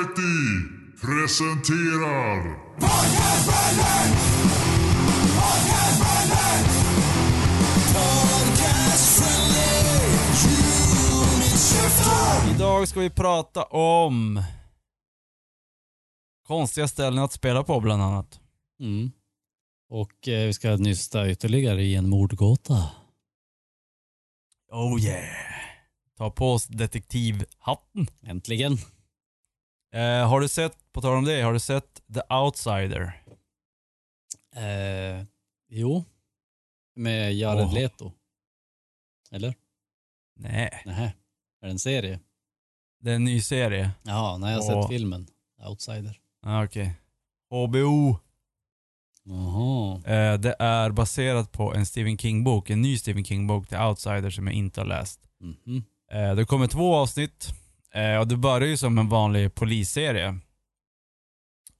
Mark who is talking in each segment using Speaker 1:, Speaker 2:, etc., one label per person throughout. Speaker 1: Variety presenterar...
Speaker 2: Idag ska vi prata om konstiga ställen att spela på bland annat.
Speaker 3: Mm. Och eh, vi ska nysta ytterligare i en mordgåta.
Speaker 2: Oh yeah. Ta på oss detektivhatten.
Speaker 3: Äntligen.
Speaker 2: Eh, har du sett, på tal om det, har du sett The Outsider?
Speaker 3: Eh, jo. Med Jared
Speaker 2: Åh.
Speaker 3: Leto. Eller?
Speaker 2: Nej.
Speaker 3: Nähä. Är det en serie?
Speaker 2: Det är en ny serie.
Speaker 3: Ja, nej jag har
Speaker 2: Åh.
Speaker 3: sett filmen. Outsider.
Speaker 2: Ah, Okej. HBO.
Speaker 3: Jaha.
Speaker 2: Eh, det är baserat på en Stephen King-bok, en ny Stephen King-bok, The Outsider, som jag inte har läst.
Speaker 3: Mhm.
Speaker 2: Eh, det kommer två avsnitt eh, och det börjar ju som en vanlig polisserie.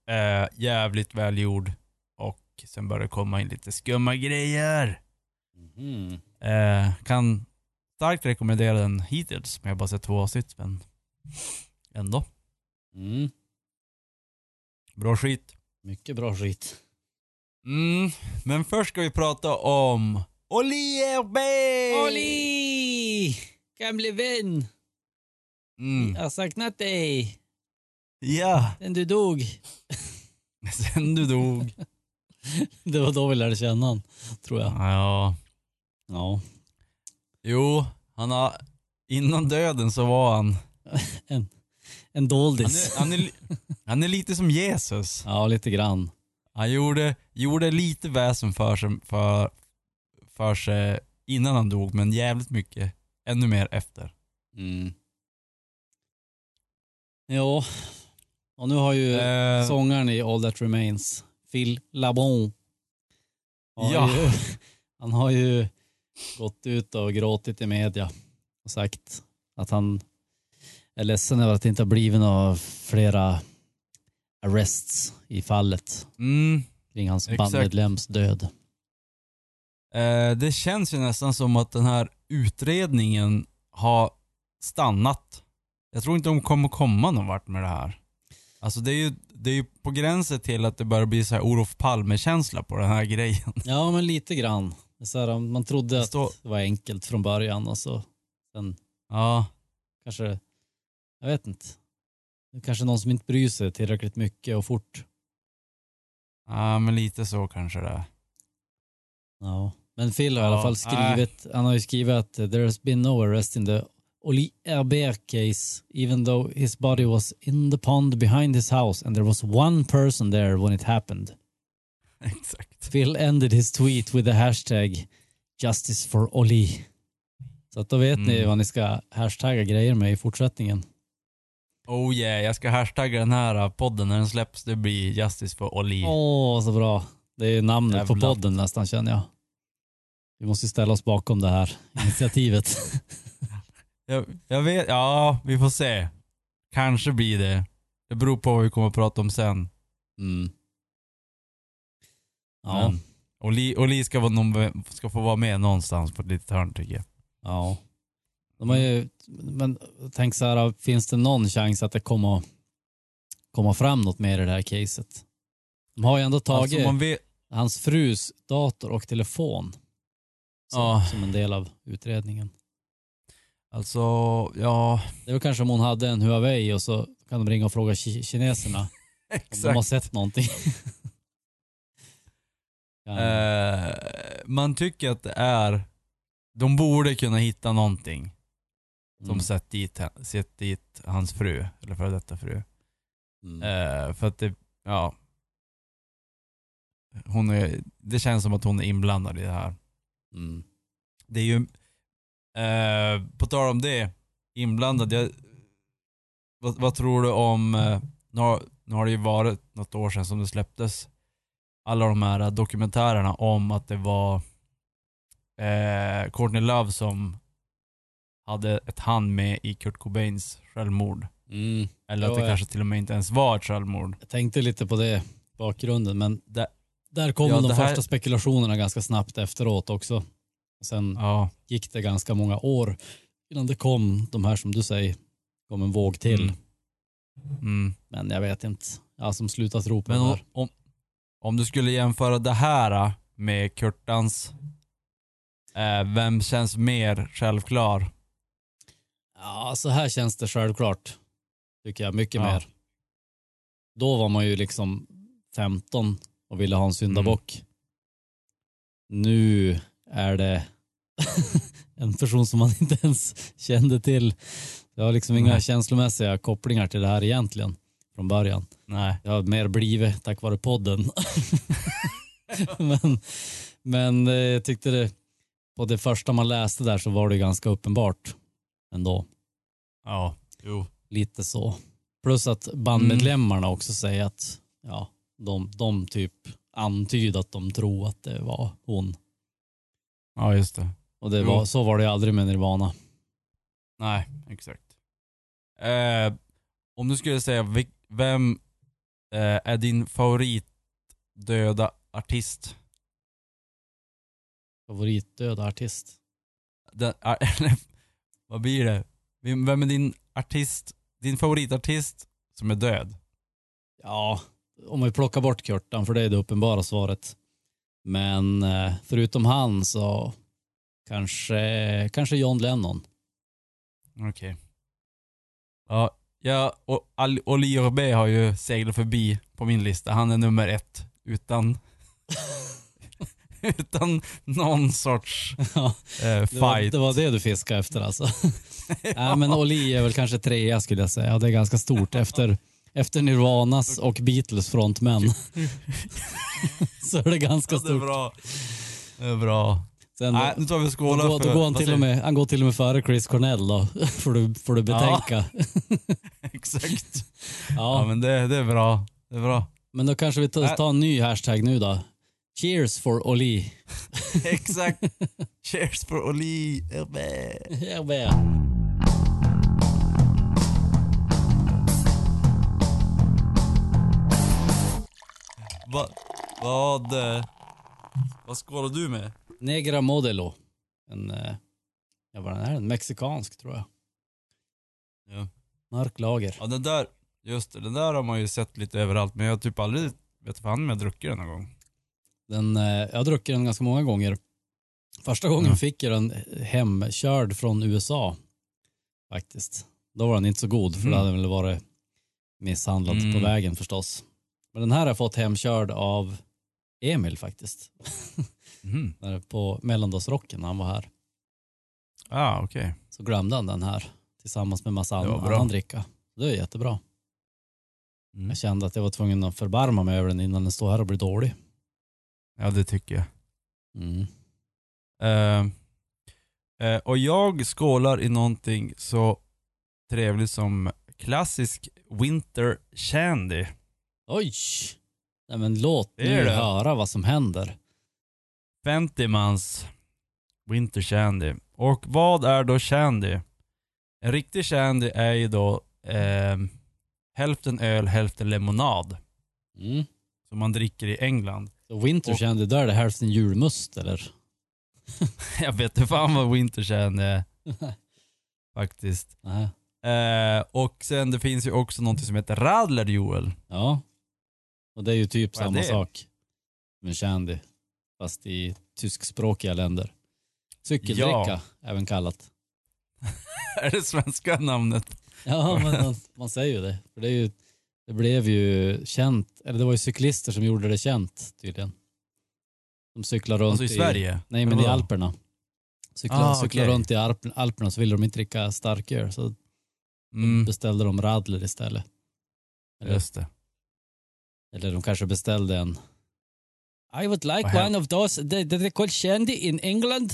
Speaker 2: Eh, jävligt välgjord och sen börjar det komma in lite skumma grejer.
Speaker 3: Mhm.
Speaker 2: Eh, kan starkt rekommendera den hittills, men jag har bara sett två avsnitt. Men ändå,
Speaker 3: Mm.
Speaker 2: bra skit.
Speaker 3: Mycket bra skit.
Speaker 2: Mm, men först ska vi prata om Oliver
Speaker 3: Olli! Gamle vän!
Speaker 2: Mm.
Speaker 3: Jag har saknat dig
Speaker 2: Ja,
Speaker 3: sen du dog.
Speaker 2: sen du dog.
Speaker 3: Det var då vi lärde känna honom, tror jag.
Speaker 2: Ja.
Speaker 3: Ja.
Speaker 2: Jo, han har, innan döden så var han
Speaker 3: En
Speaker 2: Han
Speaker 3: doldis.
Speaker 2: är, han, är, li- han är lite som Jesus.
Speaker 3: Ja, lite grann.
Speaker 2: Han gjorde, gjorde lite väsen för sig, för, för sig innan han dog, men jävligt mycket ännu mer efter.
Speaker 3: Mm. Ja, och nu har ju
Speaker 2: Eh,
Speaker 3: sångaren i All That Remains, Phil Labon, har
Speaker 2: Ja.
Speaker 3: ju, han har ju gått ut och gråtit i media och sagt att han är ledsen över att det inte har blivit några flera arrests i fallet
Speaker 2: mm,
Speaker 3: kring hans
Speaker 2: Exakt.
Speaker 3: bandmedlems död.
Speaker 2: eh, det känns ju nästan som att den här utredningen har stannat. Jag tror inte de kommer komma någon vart med det här. Alltså det är ju, det är ju på gränsen till att det börjar bli så här Olof Palme-känsla på den här grejen.
Speaker 3: Ja, men lite grann. Det är Så här, man trodde att
Speaker 2: står-
Speaker 3: det var enkelt från början och så sen
Speaker 2: Ja.
Speaker 3: kanske, jag vet inte. Det är kanske någon som inte bryr sig tillräckligt mycket och fort.
Speaker 2: Ja, men lite så kanske det är.
Speaker 3: Ja. Men Phil har i
Speaker 2: Ja,
Speaker 3: alla fall skrivit, han har ju skrivit att eh, there has been no arrest in the Oli Herbert case, even though his body was in the pond behind his house and there was one person there when it happened.
Speaker 2: Exakt.
Speaker 3: Phil ended his tweet with the hashtag justice for Oli. Så att då vet ni
Speaker 2: Mm.
Speaker 3: vad ni ska hashtagga grejer med i fortsättningen.
Speaker 2: Oh yeah, jag ska hashtagga den här äh, podden när den släpps. Det blir Justice for Oli.
Speaker 3: Åh, så bra. Det är ju namnet på
Speaker 2: Jävlar.
Speaker 3: podden nästan känner jag. Vi måste ställa oss bakom det här initiativet.
Speaker 2: Jag, jag vet, ja vi får se. Kanske blir det. Det beror på vad vi kommer att prata om sen.
Speaker 3: Mm. Ja,
Speaker 2: Men Oli, Oli ska, vara någon, ska få vara med någonstans på ett litet hörn tycker jag.
Speaker 3: ja. De har ju, men tänk så här, finns det någon chans att det kommer, kommer fram något mer i det här caset? De har ju ändå tagit
Speaker 2: Alltså, man vet,
Speaker 3: hans frus dator och telefon som,
Speaker 2: Ja.
Speaker 3: som en del av utredningen.
Speaker 2: alltså, ja.
Speaker 3: Det var kanske om hon hade en Huawei och så kan de ringa och fråga ki- kineserna Om de har
Speaker 2: Exakt.
Speaker 3: sett någonting. ja.
Speaker 2: Eh, man tycker att det är, de borde kunna hitta någonting som
Speaker 3: Mm.
Speaker 2: sett, dit, sett dit hans fru, eller före detta fru.
Speaker 3: Mm.
Speaker 2: Eh, för att det, ja. Hon är, det känns som att hon är inblandad i det här.
Speaker 3: Mm.
Speaker 2: Det är ju, eh, på tal om det, inblandad. Jag, vad, vad tror du om, eh, nu, har, nu har det ju varit något år sedan som det släpptes, alla de här dokumentärerna om att det var eh, Courtney Love som hade ett hand med i Kurt Cobains självmord.
Speaker 3: Mm.
Speaker 2: Eller att
Speaker 3: Ja,
Speaker 2: det
Speaker 3: ja.
Speaker 2: kanske till och med inte ens var ett självmord.
Speaker 3: Jag tänkte lite på det i bakgrunden men
Speaker 2: Där-
Speaker 3: där kom
Speaker 2: Ja,
Speaker 3: de
Speaker 2: det här-
Speaker 3: första spekulationerna ganska snabbt efteråt också. Och sen
Speaker 2: Ja.
Speaker 3: gick det ganska många år innan det kom de här som du säger, kom en våg till.
Speaker 2: Mm. Mm.
Speaker 3: Men jag vet inte. Jag har som slutat tro på
Speaker 2: Men
Speaker 3: det
Speaker 2: om,
Speaker 3: där.
Speaker 2: om, om du skulle jämföra det här äh, med Kurtans, eh, vem känns mer självklar?
Speaker 3: Ja, så här känns det självklart. Tycker jag, mycket
Speaker 2: Ja.
Speaker 3: mer. Då var man ju liksom 15 och ville ha en syndabock.
Speaker 2: Mm.
Speaker 3: Nu är det en person som man inte ens kände till. Jag har liksom inga
Speaker 2: Nej.
Speaker 3: känslomässiga kopplingar till det här egentligen från början.
Speaker 2: Nej.
Speaker 3: Jag har mer blivit tack vare podden. men, men eh, jag tyckte det, på det första man läste där så var det ganska uppenbart ändå.
Speaker 2: Ja. Jo.
Speaker 3: Lite så. Plus att bandmedlemmarna också säger att ja, de, de typ antyder att de tror att det var hon.
Speaker 2: Ja, just det.
Speaker 3: Och det
Speaker 2: Jo.
Speaker 3: var, så var det ju aldrig med Nirvana.
Speaker 2: Nej, exakt. Eh, om du skulle säga, vil- vem eh, är din favorit döda artist?
Speaker 3: Favoritdöd artist.
Speaker 2: Den, ar- eller, vad blir det? Vem vem är din artist, din favoritartist som är död?
Speaker 3: Ja, om vi plockar bort Kurtan, för det är det uppenbara svaret. Men eh, förutom han så kanske, kanske John Lennon.
Speaker 2: Okej. Ja, ja och Al- Oliver B har ju seglat förbi på min lista. Han är nummer ett utan utan någon sorts
Speaker 3: Ja,
Speaker 2: eh,
Speaker 3: det, var,
Speaker 2: fight.
Speaker 3: det var det du fiskade efter alltså. Nej, men Oli är väl kanske trea skulle jag säga. Det är ganska stort efter, efter Nirvanas och Beatles frontmän. så är det ganska
Speaker 2: Ja, det är
Speaker 3: stort.
Speaker 2: bra. Det är bra.
Speaker 3: Sen,
Speaker 2: Nej, nu tar vi och
Speaker 3: då,
Speaker 2: skålar
Speaker 3: då,
Speaker 2: för-
Speaker 3: då går han,
Speaker 2: vad
Speaker 3: till
Speaker 2: säger-
Speaker 3: och med, han går till och med före Chris Cornell då, får du, får du
Speaker 2: Ja.
Speaker 3: betänka.
Speaker 2: Exakt. Ja,
Speaker 3: Ja,
Speaker 2: men det, det är bra. Det är bra.
Speaker 3: men då kanske vi tar,
Speaker 2: Nej.
Speaker 3: tar en ny hashtag nu då. Cheers for Oli.
Speaker 2: Exakt. Cheers for Oliver.
Speaker 3: Jag med.
Speaker 2: Va, vad... eh, Vad skålar du med?
Speaker 3: Negra Modelo. En, eh, ja, vad den är en mexikansk tror jag.
Speaker 2: Ja.
Speaker 3: Mörk lager.
Speaker 2: Ja den där, just det, den där har man ju sett lite överallt men jag har typ aldrig vet fan om jag druckit den någon gång.
Speaker 3: Den, eh, jag har druckit den ganska många gånger. Första gången
Speaker 2: Ja.
Speaker 3: fick jag den hemkörd från USA. Faktiskt. Då var den inte så god för då
Speaker 2: Mm.
Speaker 3: hade den väl varit misshandlad
Speaker 2: Mm.
Speaker 3: på vägen förstås. Men den här har jag fått hemkörd av Emil faktiskt.
Speaker 2: Mhm.
Speaker 3: När- på mellandagsrocken när han var här.
Speaker 2: Ah okej.
Speaker 3: Så glömde han den här tillsammans med massa
Speaker 2: Det var
Speaker 3: annan,
Speaker 2: bra.
Speaker 3: annan dricka. Det är jättebra.
Speaker 2: Mm.
Speaker 3: Jag kände att jag var tvungen att förbarma mig över den innan den står här och blir dålig. Mm.
Speaker 2: Ja det tycker jag. Eh, eh, och jag skålar i någonting så trevligt som klassisk winter shandy.
Speaker 3: Oj! Nej men låt
Speaker 2: Det är
Speaker 3: nu
Speaker 2: det.
Speaker 3: höra vad som händer.
Speaker 2: 50 mans Winter Shandy. Och vad är då Shandy? En riktig Shandy är ju då eh, hälften öl, hälften lemonad.
Speaker 3: Mm.
Speaker 2: Som man dricker i England.
Speaker 3: Så Winter
Speaker 2: Och-
Speaker 3: kände, där är det hälften julmust eller?
Speaker 2: Jag vet inte fan vad Winter Shandy är faktiskt.
Speaker 3: Nej.
Speaker 2: Eh, och sen det finns ju också något som heter Radler Joel.
Speaker 3: Ja. Och det är ju typ
Speaker 2: Vad är
Speaker 3: samma
Speaker 2: det?
Speaker 3: sak. Med Shandy. Fast i tyskspråkiga länder. Cykeldricka,
Speaker 2: Ja.
Speaker 3: även kallat.
Speaker 2: är det svenska namnet?
Speaker 3: Ja, men man, man säger ju det. För det, är ju, det blev ju känt, eller det var ju cyklister som gjorde det känt tydligen. De cyklar runt
Speaker 2: Alltså i Sverige?
Speaker 3: Nej, men i
Speaker 2: Eller vadå?
Speaker 3: Alperna. Cyklar,
Speaker 2: Ah,
Speaker 3: cyklar
Speaker 2: okej.
Speaker 3: runt i Alp- Alperna så ville de inte dricka starköl så
Speaker 2: Mm,
Speaker 3: beställde de radler istället. Eller,
Speaker 2: just det.
Speaker 3: eller de kanske beställde en I would like
Speaker 2: Vad hel-
Speaker 3: one of those, they, they call shandy in England.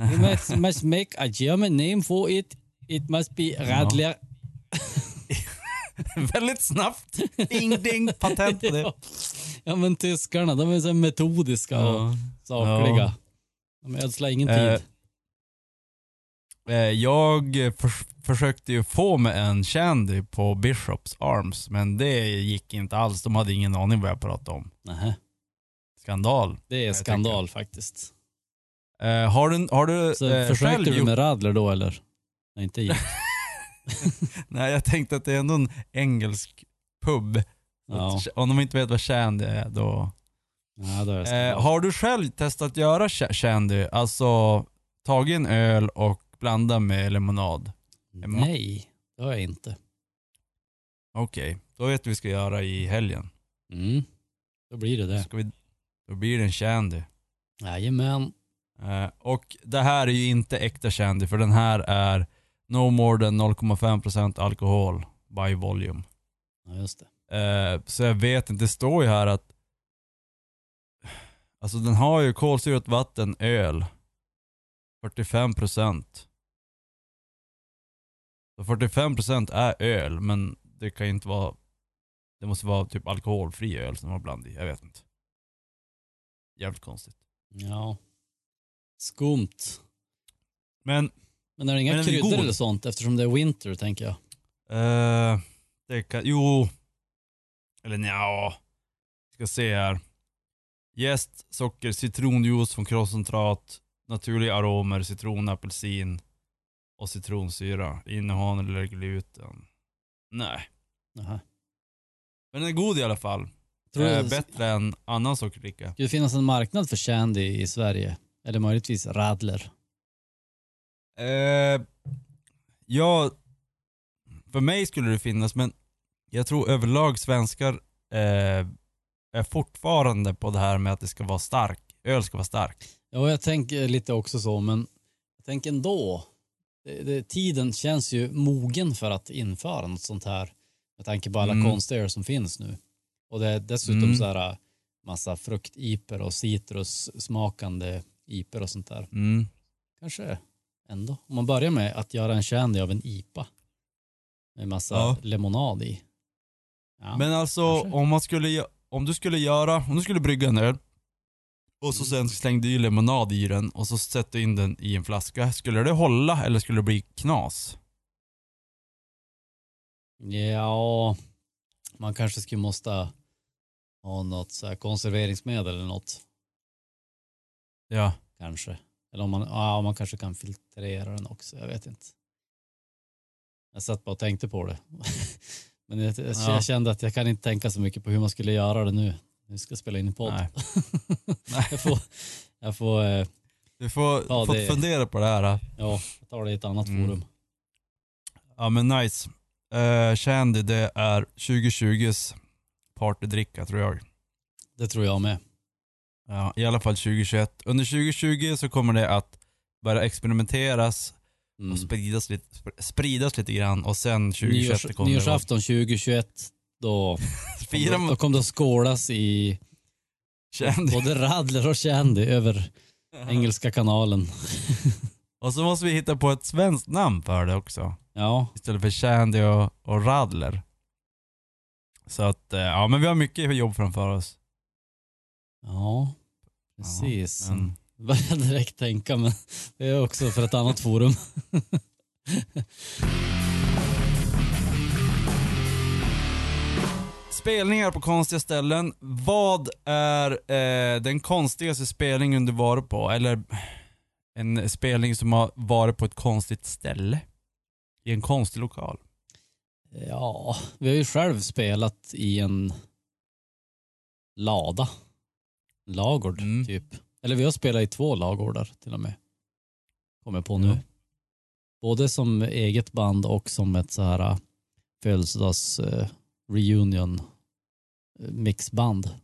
Speaker 3: You must, must make a German name for it. It must be radler.
Speaker 2: Väldigt snabbt. Ding ding, patent på det.
Speaker 3: Ja. ja men tyskarna, de är så metodiska och sakliga.
Speaker 2: Ja.
Speaker 3: De ödslar ingen
Speaker 2: Eh,
Speaker 3: tid.
Speaker 2: Eh, Jag förs- försökte ju få mig en Shandy på Bishops Arms, men det gick inte alls. De hade ingen aning vad jag pratade om.
Speaker 3: Nähä.
Speaker 2: Skandal.
Speaker 3: Det är
Speaker 2: jag
Speaker 3: skandal faktiskt.
Speaker 2: Eh, har du, har du
Speaker 3: Så
Speaker 2: eh,
Speaker 3: försökte
Speaker 2: själv
Speaker 3: du
Speaker 2: gjort...
Speaker 3: med radler då eller? Nej, inte gick.
Speaker 2: Nej, jag tänkte att det är ändå en engelsk pub.
Speaker 3: Ja,
Speaker 2: Så att- Om de inte vet vad shandy är då.
Speaker 3: ja, då är det så.
Speaker 2: Eh, har du själv testat göra sha- shandy? Alltså tagit en öl och blanda med lemonad?
Speaker 3: Mm.
Speaker 2: Mm.
Speaker 3: Nej, det har jag inte.
Speaker 2: Okej, då vet vi vad vi ska göra i helgen.
Speaker 3: Mm. Då blir det
Speaker 2: Då,
Speaker 3: det.
Speaker 2: ska vi, då blir det en shandy.
Speaker 3: Jajamän.
Speaker 2: Eh, och det här är ju inte äkta shandy för den här är no more than 0,5% alkohol by volume.
Speaker 3: Ja, just det.
Speaker 2: Eh, så jag vet inte, det står ju här att Alltså den har ju kolsyrat vatten, öl. 45 procent. Så 45 procent är öl, men det kan ju inte vara Det måste vara typ alkoholfri öl som de har blandat i, jag vet inte. Jävligt konstigt.
Speaker 3: Ja. Skumt.
Speaker 2: Men
Speaker 3: Men är det
Speaker 2: Men
Speaker 3: inga
Speaker 2: den är
Speaker 3: kryddor
Speaker 2: god.
Speaker 3: eller sånt eftersom det är winter tänker jag?
Speaker 2: Eh, det kan, jo. Eller nja. Ska se här. Jäst, socker, citronjuice från krosscentrat, naturliga aromer, citron, apelsin och citronsyra. Innehåller gluten. Nej.
Speaker 3: Nähä.
Speaker 2: Men den är god i alla fall.
Speaker 3: Tror
Speaker 2: eh,
Speaker 3: du-
Speaker 2: bättre än annan sockerdricka.
Speaker 3: Skulle det finnas en marknad för Shandy i Sverige? Eller möjligtvis Radler?
Speaker 2: Eh, ja, för mig skulle det finnas men jag tror överlag svenskar eh, är fortfarande på det här med att det ska vara stark. Öl ska vara stark.
Speaker 3: Ja, jag tänker lite också så, men jag tänker ändå. Det, det, tiden känns ju mogen för att införa något sånt här med tanke på alla
Speaker 2: Mm.
Speaker 3: konstöl som finns nu. Och det är dessutom
Speaker 2: Mm.
Speaker 3: så här äh, massa fruktiper och citrussmakande iper och sånt där.
Speaker 2: Mm.
Speaker 3: Kanske ändå. Om man börjar med att göra en shandy av en IPA med massa
Speaker 2: Ja.
Speaker 3: lemonad i. Ja.
Speaker 2: Men alltså
Speaker 3: kanske.
Speaker 2: om man skulle, gö- om du skulle göra, om du skulle brygga en öl och så sen slängde du i lemonad i den och så sätter du in den i en flaska. Skulle det hålla eller skulle det bli knas?
Speaker 3: Ja, man kanske skulle måste ha något så här konserveringsmedel eller något
Speaker 2: Ja.
Speaker 3: kanske. Eller om man, ja, man kanske kan filtrera den också, jag vet inte. Jag satt bara och tänkte på det. Men jag, jag,
Speaker 2: Ja.
Speaker 3: jag kände att jag kan inte tänka så mycket på hur man skulle göra det nu. Nu ska jag spela in en podd.
Speaker 2: Nej. Nej.
Speaker 3: Jag får, jag får eh,
Speaker 2: Du får,
Speaker 3: Ja,
Speaker 2: får
Speaker 3: det-
Speaker 2: fundera på det här. Då.
Speaker 3: ja, jag tar det i ett annat
Speaker 2: Mm.
Speaker 3: forum.
Speaker 2: Ja men nice. Uh, Shandy det är 2020s partydricka tror jag.
Speaker 3: Det tror jag med.
Speaker 2: Ja, I alla fall 2021. Under 2020 så kommer det att börja experimenteras
Speaker 3: Mm.
Speaker 2: och spridas lite, spr- spridas lite grann och sen 2021
Speaker 3: Nyårs,
Speaker 2: kommer det att
Speaker 3: nyårsafton 2021, då,
Speaker 2: fira
Speaker 3: då
Speaker 2: mot
Speaker 3: kom det att skålas i
Speaker 2: Shandy.
Speaker 3: Både Radler och Shandy över Engelska kanalen.
Speaker 2: Och så måste vi hitta på ett svenskt namn för det också.
Speaker 3: Ja,
Speaker 2: Istället för Shandy och, och Radler. Så att, eh, ja men vi har mycket jobb framför oss.
Speaker 3: ja precis.
Speaker 2: Men,
Speaker 3: Började jag direkt tänka, men det är också för ett annat forum.
Speaker 2: Spelningar på konstiga ställen. Vad är eh, den konstigaste spelningen du varit på? Eller en spelning som har varit på ett konstigt ställe? I en konstig lokal?
Speaker 3: Ja, vi har ju själv spelat i en lada. En lagård,
Speaker 2: Mm.
Speaker 3: typ. Eller vi har spelat i två lagårdar till och med. Kommer jag på nu.
Speaker 2: Ja.
Speaker 3: Både som eget band och som ett så här äh, födelsedags eh, reunion eh, mixband.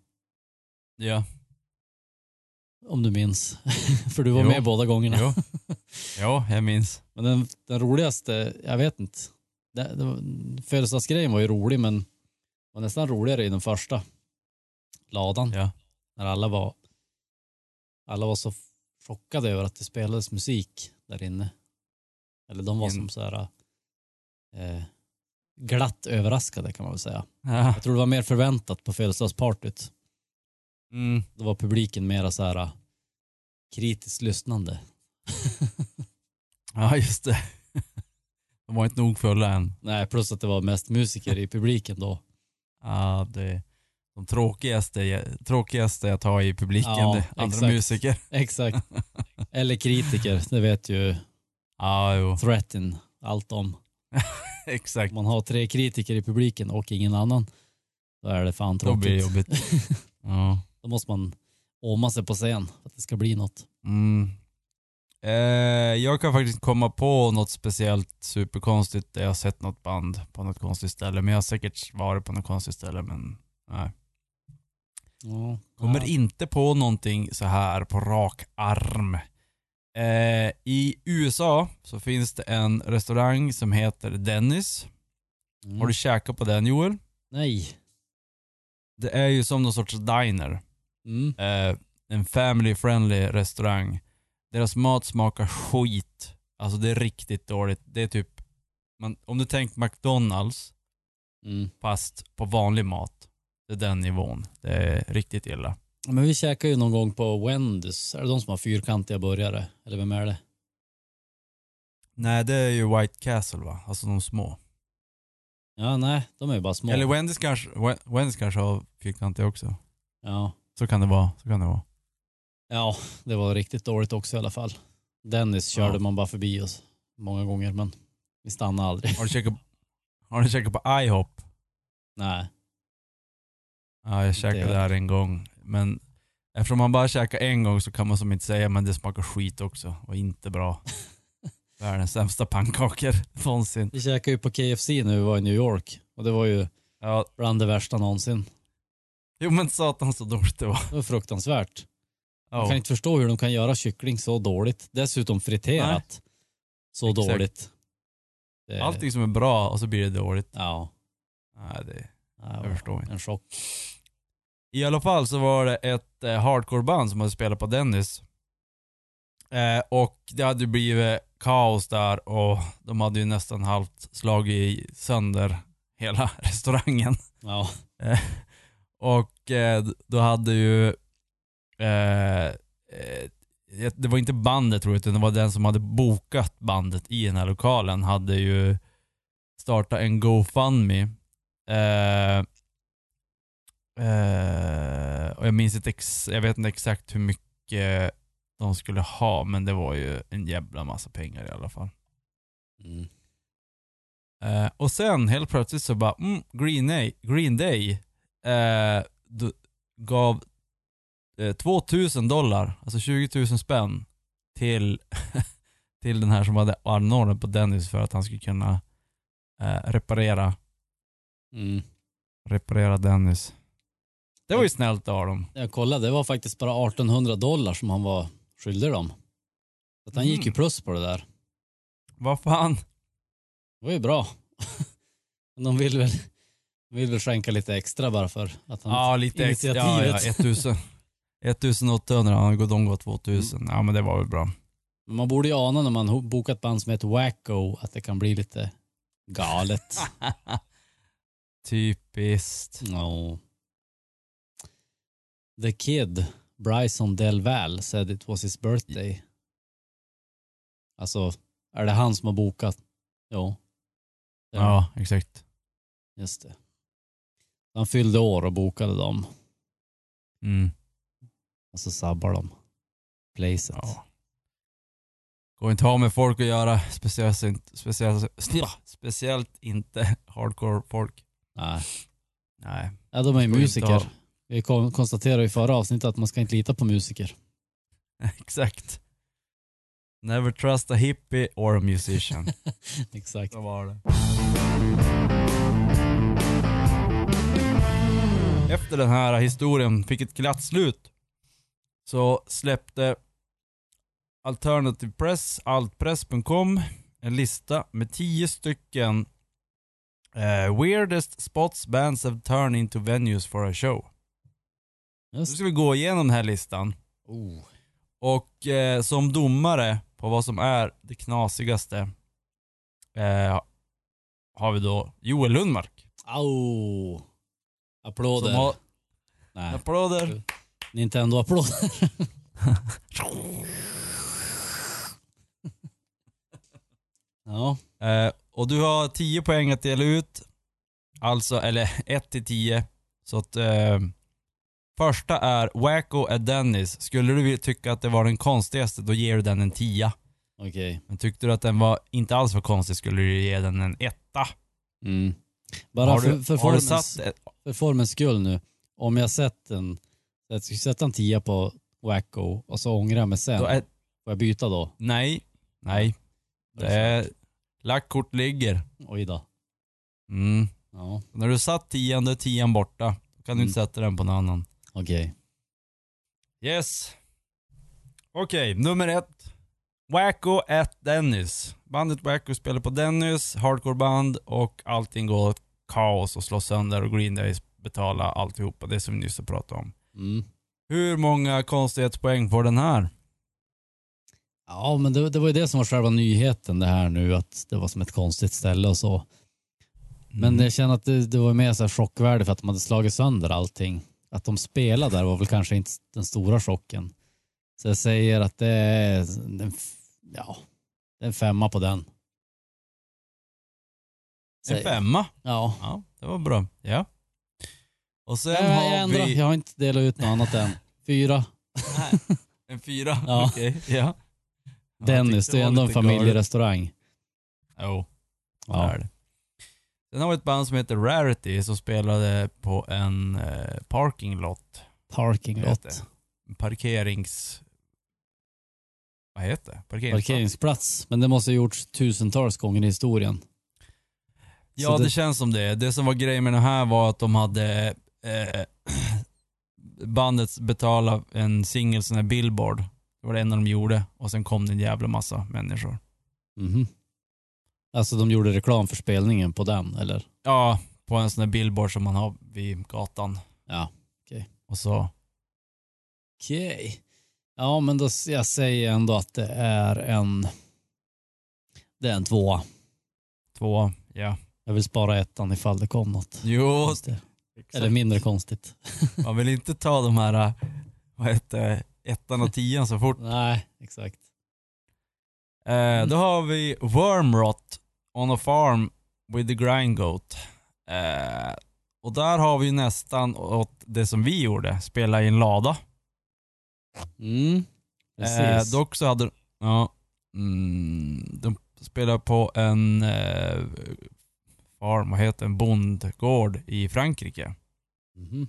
Speaker 2: Ja.
Speaker 3: Om du minns. För du var
Speaker 2: Jo.
Speaker 3: med båda gångerna.
Speaker 2: Jo. ja, jag minns.
Speaker 3: Men den, den roligaste, jag vet inte. Det, det, var- födelsedagsgrejen var ju rolig men var nästan roligare i den första ladan.
Speaker 2: Ja.
Speaker 3: När alla var, alla var så chockade över att det spelades musik där inne. Eller de var
Speaker 2: In-
Speaker 3: som så här eh, glatt överraskade kan man väl säga.
Speaker 2: Ja.
Speaker 3: Jag tror det var mer förväntat på födelsedagspartyt
Speaker 2: Mm.
Speaker 3: då var publiken mera så här äh, kritiskt lyssnande.
Speaker 2: ja, just det. De var inte nog fulla än.
Speaker 3: Nej, plus att det var mest musiker i publiken då.
Speaker 2: Ja, det, de tråkigaste, tråkigaste att ha i publiken,
Speaker 3: Ja,
Speaker 2: det, andra
Speaker 3: exakt.
Speaker 2: musiker.
Speaker 3: Exakt. Eller kritiker, det vet ju
Speaker 2: Ja, jo.
Speaker 3: Threaten allt om.
Speaker 2: Exakt.
Speaker 3: Om man har tre kritiker i publiken och ingen annan, då är det fan
Speaker 2: Då blir det
Speaker 3: tråkigt.
Speaker 2: jobbigt. Ja.
Speaker 3: Då måste man åma sig på scen för att det ska bli något.
Speaker 2: Mm. Eh, jag kan faktiskt komma på något speciellt superkonstigt där jag har sett något band på något konstigt ställe. Men jag har säkert varit på något konstigt ställe men nej.
Speaker 3: Ja.
Speaker 2: Kommer
Speaker 3: Ja.
Speaker 2: inte på någonting så här på rak arm. Eh, I USA så finns det en restaurang som heter Dennis.
Speaker 3: Mm.
Speaker 2: Har du käkat på den Joel?
Speaker 3: Nej.
Speaker 2: Det är ju som någon sorts diner.
Speaker 3: Mm.
Speaker 2: eh, en family friendly restaurang. Deras mat smakar skit. Alltså det är riktigt dåligt. Det är typ, man, om du tänker McDonalds
Speaker 3: Mm.
Speaker 2: fast på vanlig mat. Det är den nivån. Det är riktigt illa.
Speaker 3: Men vi käkar ju någon gång på Wendys. Är det de som har fyrkantiga burgare? Eller vem är det?
Speaker 2: Nej det är ju White Castle va? Alltså de små.
Speaker 3: Ja, nej, de är ju bara små.
Speaker 2: Eller Wendy's kanske, Wen- Wendy's kanske har fyrkantiga också.
Speaker 3: ja.
Speaker 2: Så kan det vara. Så kan det vara.
Speaker 3: ja, det var riktigt dåligt också i alla fall. Dennis körde
Speaker 2: Ja.
Speaker 3: man bara förbi oss många gånger, men vi stannade aldrig.
Speaker 2: Har du käkat, har du käkat på IHOP?
Speaker 3: nej.
Speaker 2: Ja jag käkade
Speaker 3: Det-
Speaker 2: där en gång. Men eftersom man bara käkar en gång så kan man som inte säga men det smakar skit också och inte bra. Världens sämsta pannkakor någonsin.
Speaker 3: Vi käkade ju på KFC när vi var i New York och det var ju
Speaker 2: Ja,
Speaker 3: bland det värsta någonsin.
Speaker 2: jo men satan så dåligt det var.
Speaker 3: Det var fruktansvärt. Jag
Speaker 2: Ja.
Speaker 3: kan inte förstå hur de kan göra kyckling så dåligt. Dessutom friterat. Så
Speaker 2: Exakt.
Speaker 3: dåligt. Det,
Speaker 2: Allting som är bra och så blir det dåligt.
Speaker 3: Ja,
Speaker 2: Nej, det...
Speaker 3: ja,
Speaker 2: Jag förstår inte.
Speaker 3: En chock.
Speaker 2: I alla fall så var det ett eh, hardcoreband som hade spelat på Dennis. Eh, och det hade ju blivit kaos där och de hade ju nästan halvt slagit sönder hela restaurangen.
Speaker 3: Ja,
Speaker 2: Och eh, då hade ju... Eh, eh, det var inte bandet tror jag, utan det var den som hade bokat bandet i den här lokalen. Hade ju startat en GoFundMe. Eh, eh, och jag minns inte, ex- jag vet inte exakt hur mycket de skulle ha, men det var ju en jävla massa pengar i alla fall.
Speaker 3: mm.
Speaker 2: Eh, och sen helt plötsligt så bara, mm, Green Day, Green Day eh, d- gav eh, 2000 dollar, alltså 20 000 spänn till, till den här som hade anordnat på Dennis för att han skulle kunna eh, reparera,
Speaker 3: Mm.
Speaker 2: reparera Dennis. Det var ju snällt av dem.
Speaker 3: Jag kollade, det var faktiskt bara 1800 dollar som han var skyldig dem. Så att han gick ju
Speaker 2: Mm.
Speaker 3: plus på det där.
Speaker 2: Vad fan?
Speaker 3: Det var ju bra. Men de vill väl, de vill väl skänka lite extra bara för att han...
Speaker 2: Ja, lite extra. Ja, ja,
Speaker 3: initiativet.
Speaker 2: 1000. 1800, ja, de går 2000. Ja men det var väl bra.
Speaker 3: Men man borde ju ana när man ho- bokat band som heter Wacko att det kan bli lite galet.
Speaker 2: Typiskt.
Speaker 3: no. The Kid, Bryson Del Valle, said it was his birthday. Alltså, är det han som har bokat? Jo. Det är
Speaker 2: Ja, exakt.
Speaker 3: Just det. Han fyllde år och bokade dem.
Speaker 2: Mm.
Speaker 3: Och så sabbar de placet.
Speaker 2: Ja. Går inte att ha med folk att göra, speciellt, inte- speciellt, snilla, speciellt inte hardcore folk.
Speaker 3: Nej.
Speaker 2: Nej.
Speaker 3: Ja, de är ju
Speaker 2: Får inte ha-
Speaker 3: musiker. Vi kon- konstaterade i förra avsnittet att man ska inte lita på musiker.
Speaker 2: Exakt. Never trust a hippie or a musician.
Speaker 3: Exakt.
Speaker 2: Så var det. Efter den här historien fick ett glatt slut så släppte Alternative Press, altpress.com, en lista med tio stycken eh, weirdest spots bands have turned into venues for a show. Nu
Speaker 3: Just.
Speaker 2: ska vi gå igenom den här listan
Speaker 3: Oh.
Speaker 2: och eh, som domare på vad som är det knasigaste eh, har vi då Joel Lundmark.
Speaker 3: Au. Applåder.
Speaker 2: Som har,
Speaker 3: Nej,
Speaker 2: applåder.
Speaker 3: Nintendo-applåder. ja.
Speaker 2: Eh, och du har 10 poäng att dela ut. Alltså, eller 1 till 10. Så att eh, första är Wacko är Dennis. Skulle du vilja tycka att det var den konstigaste, då ger du den en 10.
Speaker 3: Okej.
Speaker 2: Men tyckte du att den var inte alls var konstig skulle du ge den en etta.
Speaker 3: Mm. Bara
Speaker 2: har
Speaker 3: för,
Speaker 2: du,
Speaker 3: för,
Speaker 2: har du
Speaker 3: formens,
Speaker 2: satt,
Speaker 3: för formens skull nu. Om jag sett en, jag skulle sätta en tia på Wacko och så ångrar jag mig sen.
Speaker 2: då
Speaker 3: Får
Speaker 2: är,
Speaker 3: jag byta då?
Speaker 2: nej, nej. Det är, lackkort ligger.
Speaker 3: Oj då.
Speaker 2: Mm.
Speaker 3: Ja,
Speaker 2: När du satt tian, då är tian borta. Då kan du
Speaker 3: Mm.
Speaker 2: inte sätta den på någon annan.
Speaker 3: okej.
Speaker 2: Yes. Okej, nummer ett. Wacko at Dennis. Bandet Wacko spelar på Dennis, hardcoreband och allting går åt kaos och slås sönder och Green Days betalar alltihopa, det som vi nyss har pratat om.
Speaker 3: Mm.
Speaker 2: Hur många konstighetspoäng får den här?
Speaker 3: Ja, men det, det var ju det som var själva nyheten det här nu, att det var som ett konstigt ställe och så. Men
Speaker 2: Mm.
Speaker 3: jag känner att det, det var mer så här chockvärde för att de hade slagit sönder allting. Att de spelade där var väl kanske inte den stora chocken. Så jag säger att det är en, f- ja, det är en femma på den.
Speaker 2: en
Speaker 3: Säger-
Speaker 2: femma.
Speaker 3: Ja.
Speaker 2: Ja, det var bra. Ja. Och sen
Speaker 3: Jag, jag,
Speaker 2: har
Speaker 3: ändrar,
Speaker 2: vi...
Speaker 3: jag har inte delat ut något annat än fyra.
Speaker 2: Nej, en fyra.
Speaker 3: Ja.
Speaker 2: Okej, ja. Ja, jag
Speaker 3: Dennis,
Speaker 2: tyckte
Speaker 3: det är
Speaker 2: var
Speaker 3: ändå en
Speaker 2: lite galet.
Speaker 3: familjerestaurang.
Speaker 2: Jo,
Speaker 3: Ja.
Speaker 2: det är det. Sen har vi ett band som heter Rarity som spelade på en eh, parkinglot.
Speaker 3: Parking
Speaker 2: Vad heter
Speaker 3: lot.
Speaker 2: En parkerings... Vad heter det? Parkerings...
Speaker 3: Parkeringsplats. Men det måste ha gjorts tusentals gånger i historien.
Speaker 2: Ja,
Speaker 3: Så
Speaker 2: det...
Speaker 3: det-
Speaker 2: känns som det. Det som var grejen med det här var att de hade eh, bandet betala en singel sån här billboard. Det var det enda de gjorde. Och sen kom det en jävla massa människor.
Speaker 3: Mhm. Alltså de gjorde reklam för spelningen på den, eller?
Speaker 2: Ja, på en sån här billboard som man har vid gatan.
Speaker 3: Ja.
Speaker 2: Och så...
Speaker 3: Okej. Ja, men då s- jag säger ändå att det är en... Det är en tvåa.
Speaker 2: Två, ja.
Speaker 3: Jag vill spara ettan ifall det kom något.
Speaker 2: Jo,
Speaker 3: Just det. Eller mindre konstigt.
Speaker 2: Man vill inte ta de här, äh, vad heter det, ettan och tian så fort.
Speaker 3: Nej, exakt.
Speaker 2: Eh,
Speaker 3: Mm.
Speaker 2: då har vi Wormrot on a farm with the grind goat. Eh, och där har vi ju nästan åt det som vi gjorde, spela i en lada.
Speaker 3: Mm. Precis.
Speaker 2: Eh, dock så hade ja, mm, de spelade på en eh, farm, vad heter det, en bondgård i Frankrike.
Speaker 3: Mhm.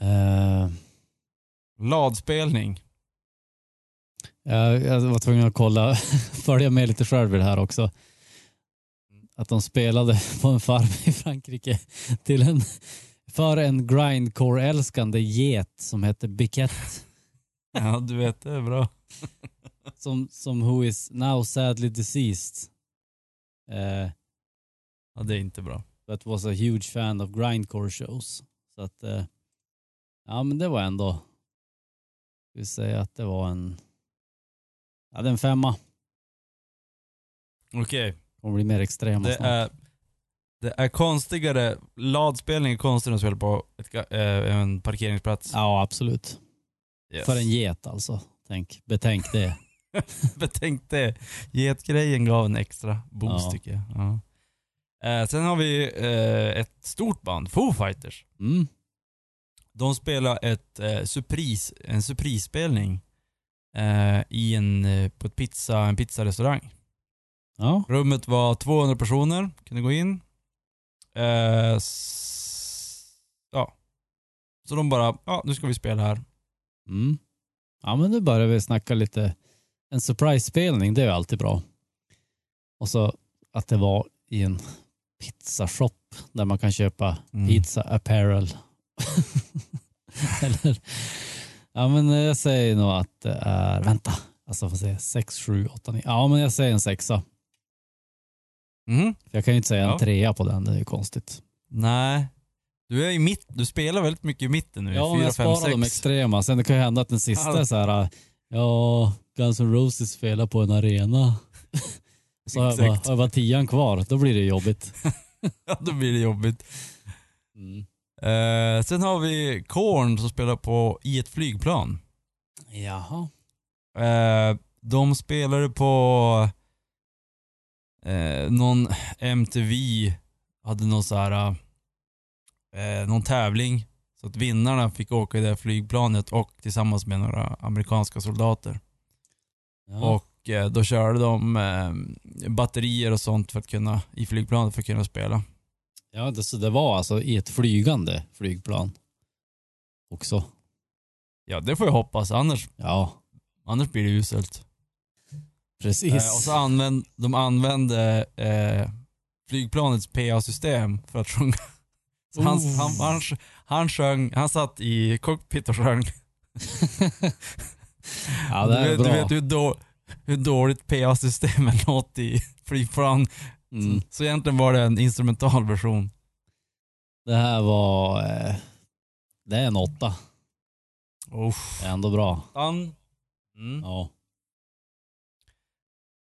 Speaker 3: Eh,
Speaker 2: Ladspelning.
Speaker 3: Jag, jag var tvungen att kolla, följa med lite själv i det här också. Att de spelade på en farm i Frankrike till en, för en grindcore-älskande get som hette Biquette.
Speaker 2: Ja, du vet, det är bra.
Speaker 3: Som, som who is now sadly deceased. Eh,
Speaker 2: Ja, det är inte bra.
Speaker 3: but was a huge fan of grindcore shows. Så att, eh, ja men det var ändå, ska vi säga att det var en, ja det är en femma.
Speaker 2: Okej.
Speaker 3: Kommer bli mer extrema
Speaker 2: Det
Speaker 3: snart.
Speaker 2: är, det är konstigare, ladspelning är konstigare än att spela på ett, ga- eh, en parkeringsplats.
Speaker 3: Ja absolut.
Speaker 2: Yes.
Speaker 3: För en get alltså. Tänk, betänk det.
Speaker 2: Betänk det. Getgrejen gav en extra boost
Speaker 3: Ja.
Speaker 2: tycker jag. Ja. Eh, sen har vi eh, ett stort band, Foo Fighters.
Speaker 3: Mm.
Speaker 2: De spelar ett, eh, surprise, en surprisspelning eh, i en, eh, på ett pizza, en pizzarestaurang.
Speaker 3: Ja.
Speaker 2: Rummet var 200 personer, kunde gå in. Eh, s- ja. Så de bara, ja nu ska vi spela här.
Speaker 3: Mm. Ja men nu börjar vi snacka lite. En surprise-spelning, det är ju alltid bra. Och så att det var i en pizzashop där man kan köpa
Speaker 2: Mm.
Speaker 3: pizza apparel. Eller? Ja men jag säger nog att det är, vänta, alltså får se, 6, 7, 8, 9. Ja men jag säger en sexa.
Speaker 2: Mhm.
Speaker 3: För Jag kan ju inte säga
Speaker 2: Ja.
Speaker 3: en trea på den, det är ju konstigt.
Speaker 2: Nej. Du är i mitt, du spelar väldigt mycket i mitten nu.
Speaker 3: Ja, men
Speaker 2: fyra
Speaker 3: jag
Speaker 2: fem
Speaker 3: sparar
Speaker 2: sex
Speaker 3: de extrema. Sen det kan ju hända att den sista är så här, ja, Guns N' Roses spelar på en arena. Så har jag, bara,
Speaker 2: Exakt.
Speaker 3: har jag bara tian kvar, då blir det jobbigt.
Speaker 2: Ja, då blir det jobbigt.
Speaker 3: Mm.
Speaker 2: Eh, sen har vi Korn som spelar på, i ett flygplan.
Speaker 3: Jaha.
Speaker 2: Eh, de spelade på eh, någon MTV, hade någon så här, eh, någon tävling. Så att vinnarna fick åka i det här flygplanet och tillsammans med några amerikanska soldater.
Speaker 3: Ja.
Speaker 2: Och eh, då körde de eh, batterier och sånt för att kunna, i flygplanet för att kunna spela.
Speaker 3: Ja, det, så det var alltså i ett flygande flygplan också.
Speaker 2: Ja, det får jag hoppas. Annars,
Speaker 3: Ja,
Speaker 2: annars blir det uselt.
Speaker 3: precis.
Speaker 2: Eh, och så använd, de använde eh, flygplanets PA-system för att sjunga. Så han,
Speaker 3: Oh.
Speaker 2: han, han, han sjöng, han satt i cockpit och sjöng.
Speaker 3: ja, det
Speaker 2: du,
Speaker 3: är
Speaker 2: vet,
Speaker 3: bra.
Speaker 2: du vet hur, då, hur dåligt PA-systemen låter i flygplan.
Speaker 3: mm.
Speaker 2: Så egentligen var det en instrumental version.
Speaker 3: Det här var... Eh, det är en åtta. Det är ändå bra.
Speaker 2: Stan. Mm.
Speaker 3: Ja.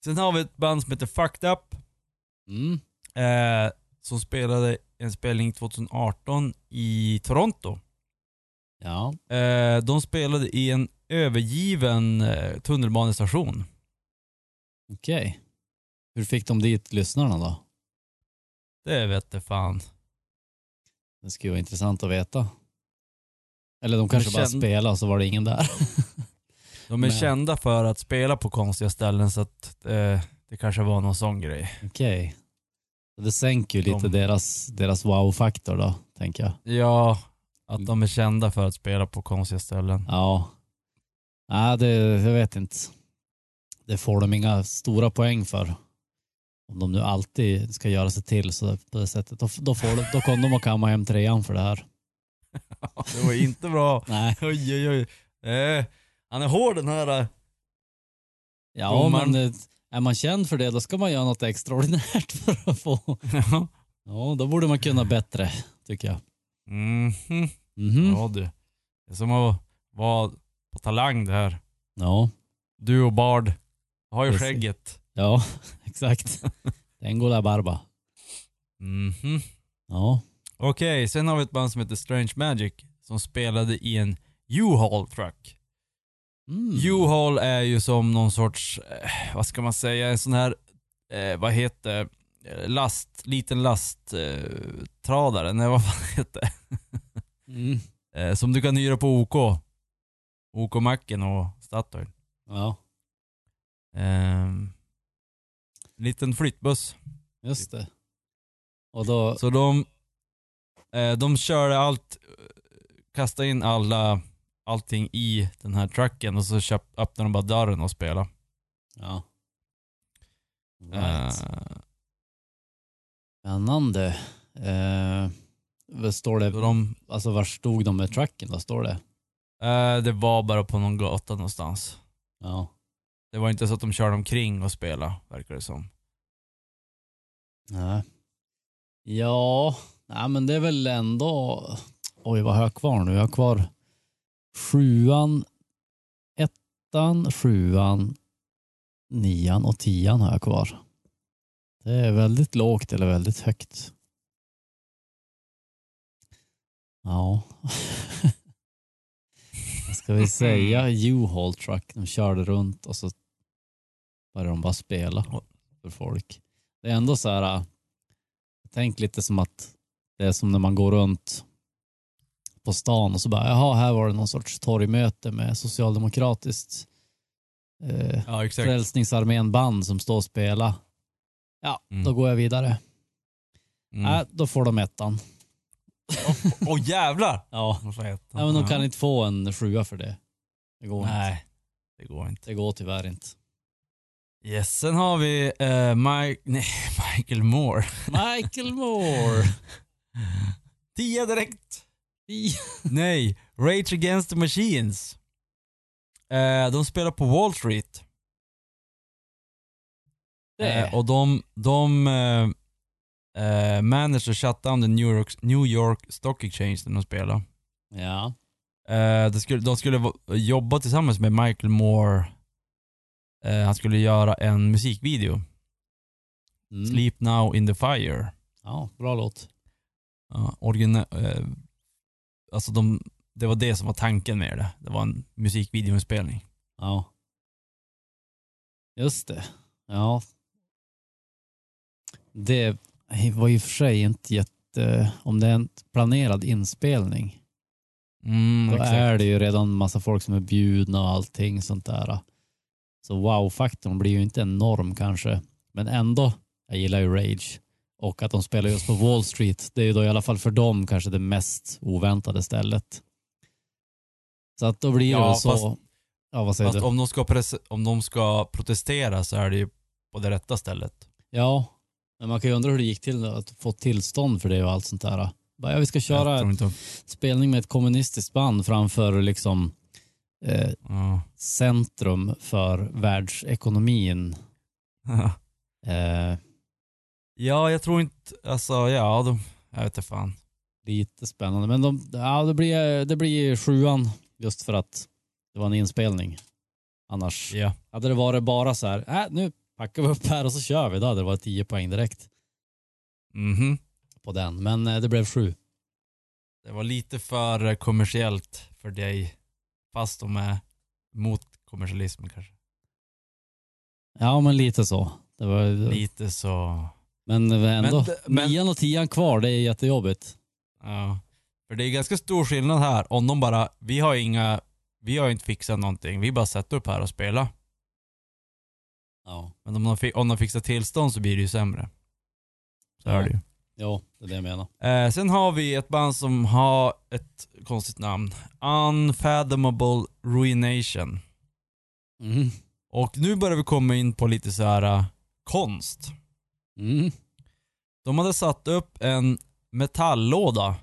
Speaker 2: Sen har vi ett band som heter Fucked Up.
Speaker 3: Mm.
Speaker 2: Eh, som spelade en spelning 2018 i Toronto.
Speaker 3: Ja.
Speaker 2: Eh, de spelade i en övergiven eh, tunnelbanestation.
Speaker 3: Okej. Hur fick de dit lyssnarna då?
Speaker 2: Det vet jag fan.
Speaker 3: Det skulle vara intressant att veta. Eller de kanske
Speaker 2: Det
Speaker 3: bara
Speaker 2: känd-
Speaker 3: spelade och så var det ingen där.
Speaker 2: De är
Speaker 3: Men-
Speaker 2: kända för att spela på konstiga ställen så att eh, det kanske var någon sån grej.
Speaker 3: Okej. Det sänker ju lite
Speaker 2: De-
Speaker 3: deras, deras wow-faktor då, tänker jag.
Speaker 2: Ja, att de är kända för att spela på konstiga ställen.
Speaker 3: Ja. Nej, det, jag vet inte. Det får de inga stora poäng för. Om de nu alltid ska göra sig till så där, på det sättet. Då, då, får de, då kom de och kamma hem trean för det här.
Speaker 2: Det var inte bra.
Speaker 3: Nej.
Speaker 2: Oj, oj, oj. Eh, han är hård den här. eh.
Speaker 3: Ja,
Speaker 2: Domaren.
Speaker 3: men eh, är man känd för det då ska man göra något extraordinärt för att få. Ja, då borde man kunna bättre, tycker jag.
Speaker 2: Mhm.
Speaker 3: Mhm.
Speaker 2: Ja du. Det är som att vara på talang det här.
Speaker 3: Ja,
Speaker 2: Du och Bard har ju
Speaker 3: Precis.
Speaker 2: skägget.
Speaker 3: ja, exakt. Den går där barba.
Speaker 2: Mhm.
Speaker 3: Ja,
Speaker 2: Okej, sen har vi ett band som heter Strange Magic som spelade i en U-Haul truck.
Speaker 3: mm.
Speaker 2: U-Haul är ju som någon sorts, eh, vad ska man säga, en sån här, eh, vad heter eh, last, liten lasttradare, eh, tradare. nej vad fan heter det?
Speaker 3: Mm.
Speaker 2: Eh, som du kan hyra på OK. OK-macken och Statoil.
Speaker 3: Ja,
Speaker 2: Ehm, liten flyttbuss.
Speaker 3: just det. Och då,
Speaker 2: Så de, eh, de körde allt, kastade in alla, allting i den här trucken och så köpt, öppnade de bara dörren och spelade.
Speaker 3: ja. Right.
Speaker 2: Eh,
Speaker 3: Spännande. Eh, vad står
Speaker 2: så
Speaker 3: det,
Speaker 2: de,
Speaker 3: alltså var stod de med trucken då? Står det?
Speaker 2: eh, det var bara på någon gata någonstans.
Speaker 3: Ja.
Speaker 2: Det var inte så att de körde omkring och spelade, verkar det som.
Speaker 3: Nej. Ja, nej men det är väl ändå, oj vad har jag kvar nu? Jag har kvar sjuan, ettan, sjuan, nian och tian har jag kvar. Det är väldigt lågt eller väldigt högt. Ja. Vad ska vi säga? U-Haul Truck, de körde runt och så började de bara spela för folk. Det är ändå så här, äh, tänk lite som att det är som när man går runt på stan och så bara, jaha, här var det någon sorts torgmöte med socialdemokratiskt eh,
Speaker 2: Ja, exakt.
Speaker 3: Frälsningsarmén band som står och spelar. Ja,
Speaker 2: Mm.
Speaker 3: då går jag vidare.
Speaker 2: Mm. Åh
Speaker 3: Äh, då får de ettan.
Speaker 2: oh, jävlar!
Speaker 3: Ja.
Speaker 2: De får äta.
Speaker 3: ja, men de kan inte få en sjua för det. Det går inte.
Speaker 2: Nej, det går inte.
Speaker 3: Det går tyvärr inte.
Speaker 2: Yes, sen har vi eh, Mike, nej, Michael Moore.
Speaker 3: Michael Moore!
Speaker 2: Tia direkt.
Speaker 3: I-
Speaker 2: Nej, Rage Against the Machines. Eh, de spelar på Wall Street.
Speaker 3: Det är-
Speaker 2: Eh, och de, de eh, eh, managed to shut down the New York, New York Stock Exchange när de spelade.
Speaker 3: ja.
Speaker 2: Eh, de, skulle, de skulle va- jobba tillsammans med Michael Moore. Eh, han skulle göra en musikvideo.
Speaker 3: Mm.
Speaker 2: Sleep Now In The Fire.
Speaker 3: ja, bra låt.
Speaker 2: Ja, origina- eh, alltså de, det var det som var tanken med det. Det var en musikvideoinspelning.
Speaker 3: Ja. Just det. Ja. Det var i och för sig inte jätte... Om det är en planerad inspelning
Speaker 2: Mm,
Speaker 3: då
Speaker 2: exakt.
Speaker 3: är det ju redan massa folk som är bjudna och allting sånt där. Så wow-faktorn blir ju inte enorm kanske. Men ändå, jag gillar ju Rage. Och att de spelar just på Wall Street, det är ju då i alla fall för dem kanske det mest oväntade stället. Så att då blir det
Speaker 2: Ja,
Speaker 3: väl så.
Speaker 2: fast-
Speaker 3: ja, vad säger
Speaker 2: Fast
Speaker 3: du?
Speaker 2: om de, ska pres- om de ska protestera så är det ju på det rätta stället.
Speaker 3: Ja, men man kan ju undra hur det gick till att få tillstånd för det och allt sånt där. Bara, ja, vi ska
Speaker 2: Jag
Speaker 3: köra
Speaker 2: tror
Speaker 3: en
Speaker 2: inte de-
Speaker 3: spelning med ett kommunistiskt band framför liksom eh,
Speaker 2: ja.
Speaker 3: centrum för världsekonomin. Eh,
Speaker 2: ja, jag tror inte, alltså ja, de, jag vet inte fan.
Speaker 3: lite spännande, men de, ja, det, blir, det blir sjuan just för att det var en inspelning. Annars
Speaker 2: Ja.
Speaker 3: hade det varit bara så här, äh, nu packar vi upp här och så kör vi. Då hade det varit 10 poäng direkt
Speaker 2: Mhm.
Speaker 3: på den, men eh, det blev sju.
Speaker 2: Det var lite för eh, kommersiellt för dig, fast de är mot kommersialismen kanske.
Speaker 3: Ja, men lite så. Det var,
Speaker 2: Lite så,
Speaker 3: Men ändå,
Speaker 2: men-
Speaker 3: nian och tian kvar, det är jättejobbigt.
Speaker 2: ja. För det är ganska stor skillnad här om de bara, vi har inga, vi har inte fixat någonting, vi bara sätter upp här och spelar.
Speaker 3: Ja.
Speaker 2: Men om de, fi- om de fixar tillstånd så blir det ju sämre. Så är det ju.
Speaker 3: Ja, det är det jag menar.
Speaker 2: Eh, sen har vi ett band som har ett konstigt namn. Unfathomable Ruination.
Speaker 3: Mm.
Speaker 2: Och nu börjar vi komma in på lite så här eh, konst.
Speaker 3: Mm.
Speaker 2: De hade satt upp en metalllåda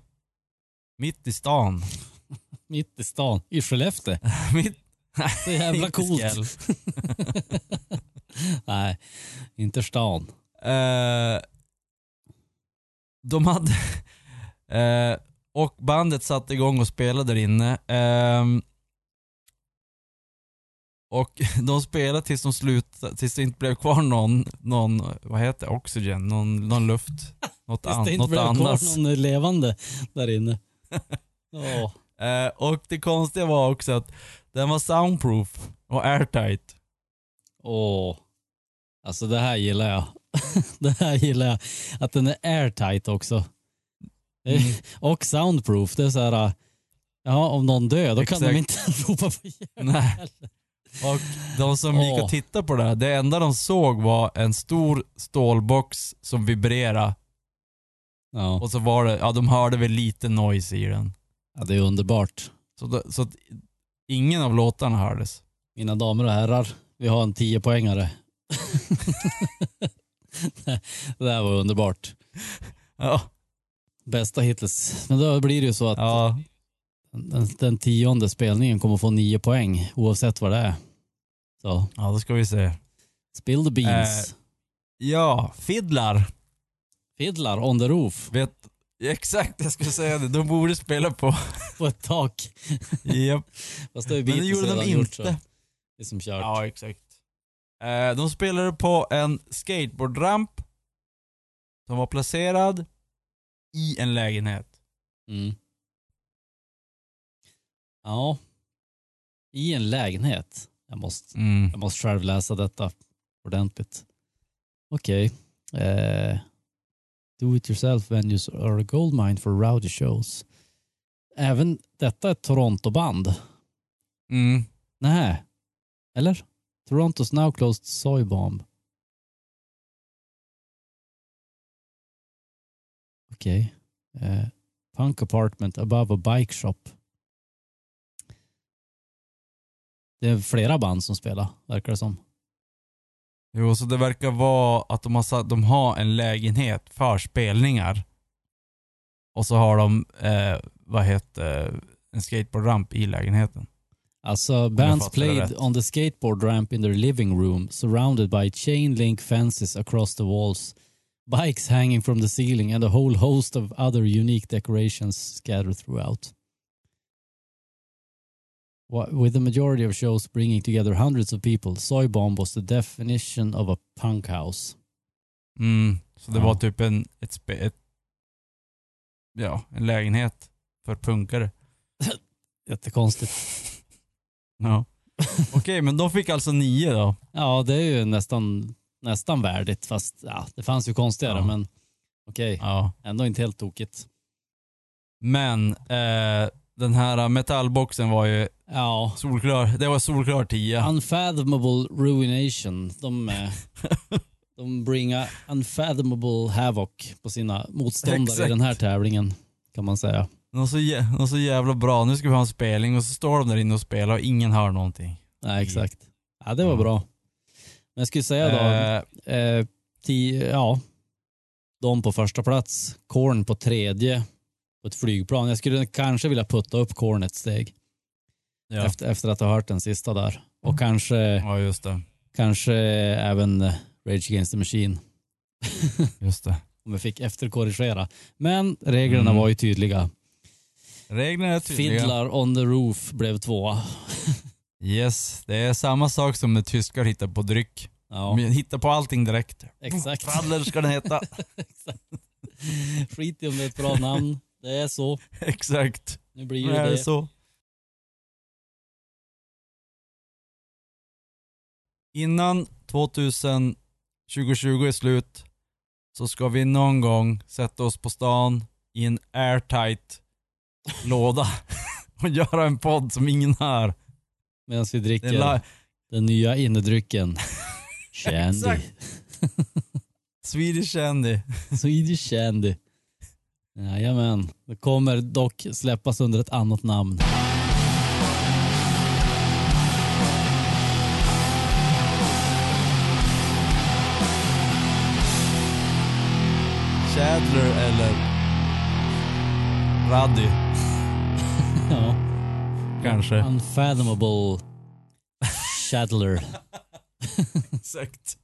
Speaker 2: mitt i stan.
Speaker 3: Mitt i stan, i Skellefteå.
Speaker 2: mitt,
Speaker 3: Så jävla
Speaker 2: Inte
Speaker 3: coolt.
Speaker 2: skräll.
Speaker 3: Nej, inte stan.
Speaker 2: eh, de hade... Eh, och bandet satte igång och spelade där inne. Ehm, och de spelade tills de slutade, tills det inte blev kvar någon, någon vad heter det, oxygen, någon, någon luft, något,
Speaker 3: Tills
Speaker 2: an,
Speaker 3: det inte
Speaker 2: något
Speaker 3: blev
Speaker 2: annat.
Speaker 3: kvar någon eh, levande där inne. Ja,
Speaker 2: Eh, och det konstiga var också att den var soundproof och airtight.
Speaker 3: Åh. Alltså det här gillar jag. det här gillar jag. Att den är airtight också. Det- Och soundproof. Det är så här, eh, ja om någon dör då kan de inte ropa på hjälp.
Speaker 2: Nej. Och de som gick
Speaker 3: Åh.
Speaker 2: och tittade på det här, det enda de såg var en stor stålbox som vibrerade
Speaker 3: Ja.
Speaker 2: och så var det, ja de hörde väl lite noise i den.
Speaker 3: ja, det är underbart.
Speaker 2: Så, då, så att ingen av låtarna hördes.
Speaker 3: Mina damer och herrar, vi har en 10 poängare. det här var underbart.
Speaker 2: Ja,
Speaker 3: Bästa hittills. Men då blir det ju så att
Speaker 2: ja,
Speaker 3: den, den tionde spelningen kommer få 9 poäng oavsett vad det är. Så,
Speaker 2: ja då ska vi se.
Speaker 3: spill the beans.
Speaker 2: Eh. Ja, fiddlar.
Speaker 3: Fiddlar on the roof
Speaker 2: Vet, exakt, jag skulle säga det. De borde spela på.
Speaker 3: på ett tak.
Speaker 2: Japp.
Speaker 3: Fast det har ju
Speaker 2: Men det
Speaker 3: Beatles
Speaker 2: gjorde de
Speaker 3: redan
Speaker 2: inte.
Speaker 3: gjort, så Det är som kört.
Speaker 2: Ja, exakt. Eh, de spelade på en skateboardramp som var placerad i en lägenhet.
Speaker 3: Mm. ja. I en lägenhet. Jag måste,
Speaker 2: Mm.
Speaker 3: jag måste själv läsa detta ordentligt. Okej. Eh, do it yourself venues are a goldmine for rowdy shows. Även detta är ett Toronto-band.
Speaker 2: Mm.
Speaker 3: Nej. Eller? Toronto's now closed soy bomb. Okej. Eh, punk apartment above a bike shop. Det är flera band som spelar, verkar det som.
Speaker 2: Jo, så det verkar vara att de har, satt, de har en lägenhet för spelningar. Och så har de, eh, vad heter en skateboardramp i lägenheten.
Speaker 3: Alltså,
Speaker 2: jag
Speaker 3: bands
Speaker 2: fattar det
Speaker 3: played
Speaker 2: rätt.
Speaker 3: on the skateboard ramp in their living room surrounded by chain link fences across the walls, bikes hanging from the ceiling and a whole host of other unique decorations scattered throughout. Wha- With the majority of shows bringing together hundreds of people, Soy Bomb was the definition of a punk house.
Speaker 2: Mm. Så det
Speaker 3: Ja.
Speaker 2: var typ en, ett, spe, ett, ja, en lägenhet för punkare.
Speaker 3: Jättekonstigt.
Speaker 2: Ja. Okej, men de fick alltså nio då.
Speaker 3: Ja, det är ju nästan, nästan värdigt, fast ja, det fanns ju konstigare,
Speaker 2: Ja.
Speaker 3: men okej,
Speaker 2: Ja.
Speaker 3: ändå inte helt tokigt.
Speaker 2: Men eh, den här metallboxen var ju
Speaker 3: Ja.
Speaker 2: Solklar. Det var solklar 10.
Speaker 3: Unfathomable Ruination. De, eh, de bringar unfathomable havoc på sina motståndare i
Speaker 2: Exakt.
Speaker 3: den här tävlingen kan man säga.
Speaker 2: De är, så jä- de är så jävla bra. Nu ska vi ha en spelning och så står de där inne och spelar och ingen hör någonting.
Speaker 3: Nej, exakt. Ja, det var bra. Men jag skulle säga då,
Speaker 2: Mm. Eh,
Speaker 3: eh, tio, ja, de på första plats, Korn på tredje på ett flygplan. Jag skulle kanske vilja putta upp Korn ett steg
Speaker 2: ja. Mm.
Speaker 3: efter, efter att ha hört den sista där. Och kanske,
Speaker 2: ja, just det.
Speaker 3: kanske även eh, Rage Against the Machine
Speaker 2: Just det.
Speaker 3: om jag fick efterkorrigera. Men reglerna
Speaker 2: Mm.
Speaker 3: var ju tydliga.
Speaker 2: Reglerna är tydliga.
Speaker 3: Fiddlar on the roof blev tvåa.
Speaker 2: Yes, det är samma sak som när tyskar hittar på dryck.
Speaker 3: Ja,
Speaker 2: De Hittar på allting direkt.
Speaker 3: exakt.
Speaker 2: Fadler ska den heta.
Speaker 3: Skit i om det är ett bra namn. Det är så.
Speaker 2: Exakt.
Speaker 3: Nu blir
Speaker 2: Det
Speaker 3: det
Speaker 2: är
Speaker 3: det.
Speaker 2: så. Innan 2020 är slut så ska vi någon gång sätta oss på stan i en airtight låda och göra en podd som ingen hör.
Speaker 3: Medan vi
Speaker 2: Det är la-
Speaker 3: dricker den nya innedrycken. Candy.
Speaker 2: Exakt. Swedish Andy.
Speaker 3: Swedish Candy. Jajamän. Det kommer dock släppas under ett annat namn.
Speaker 2: Chadler eller Raddy
Speaker 3: Ja.
Speaker 2: kanske.
Speaker 3: Unfathomable Shadler.
Speaker 2: Exakt.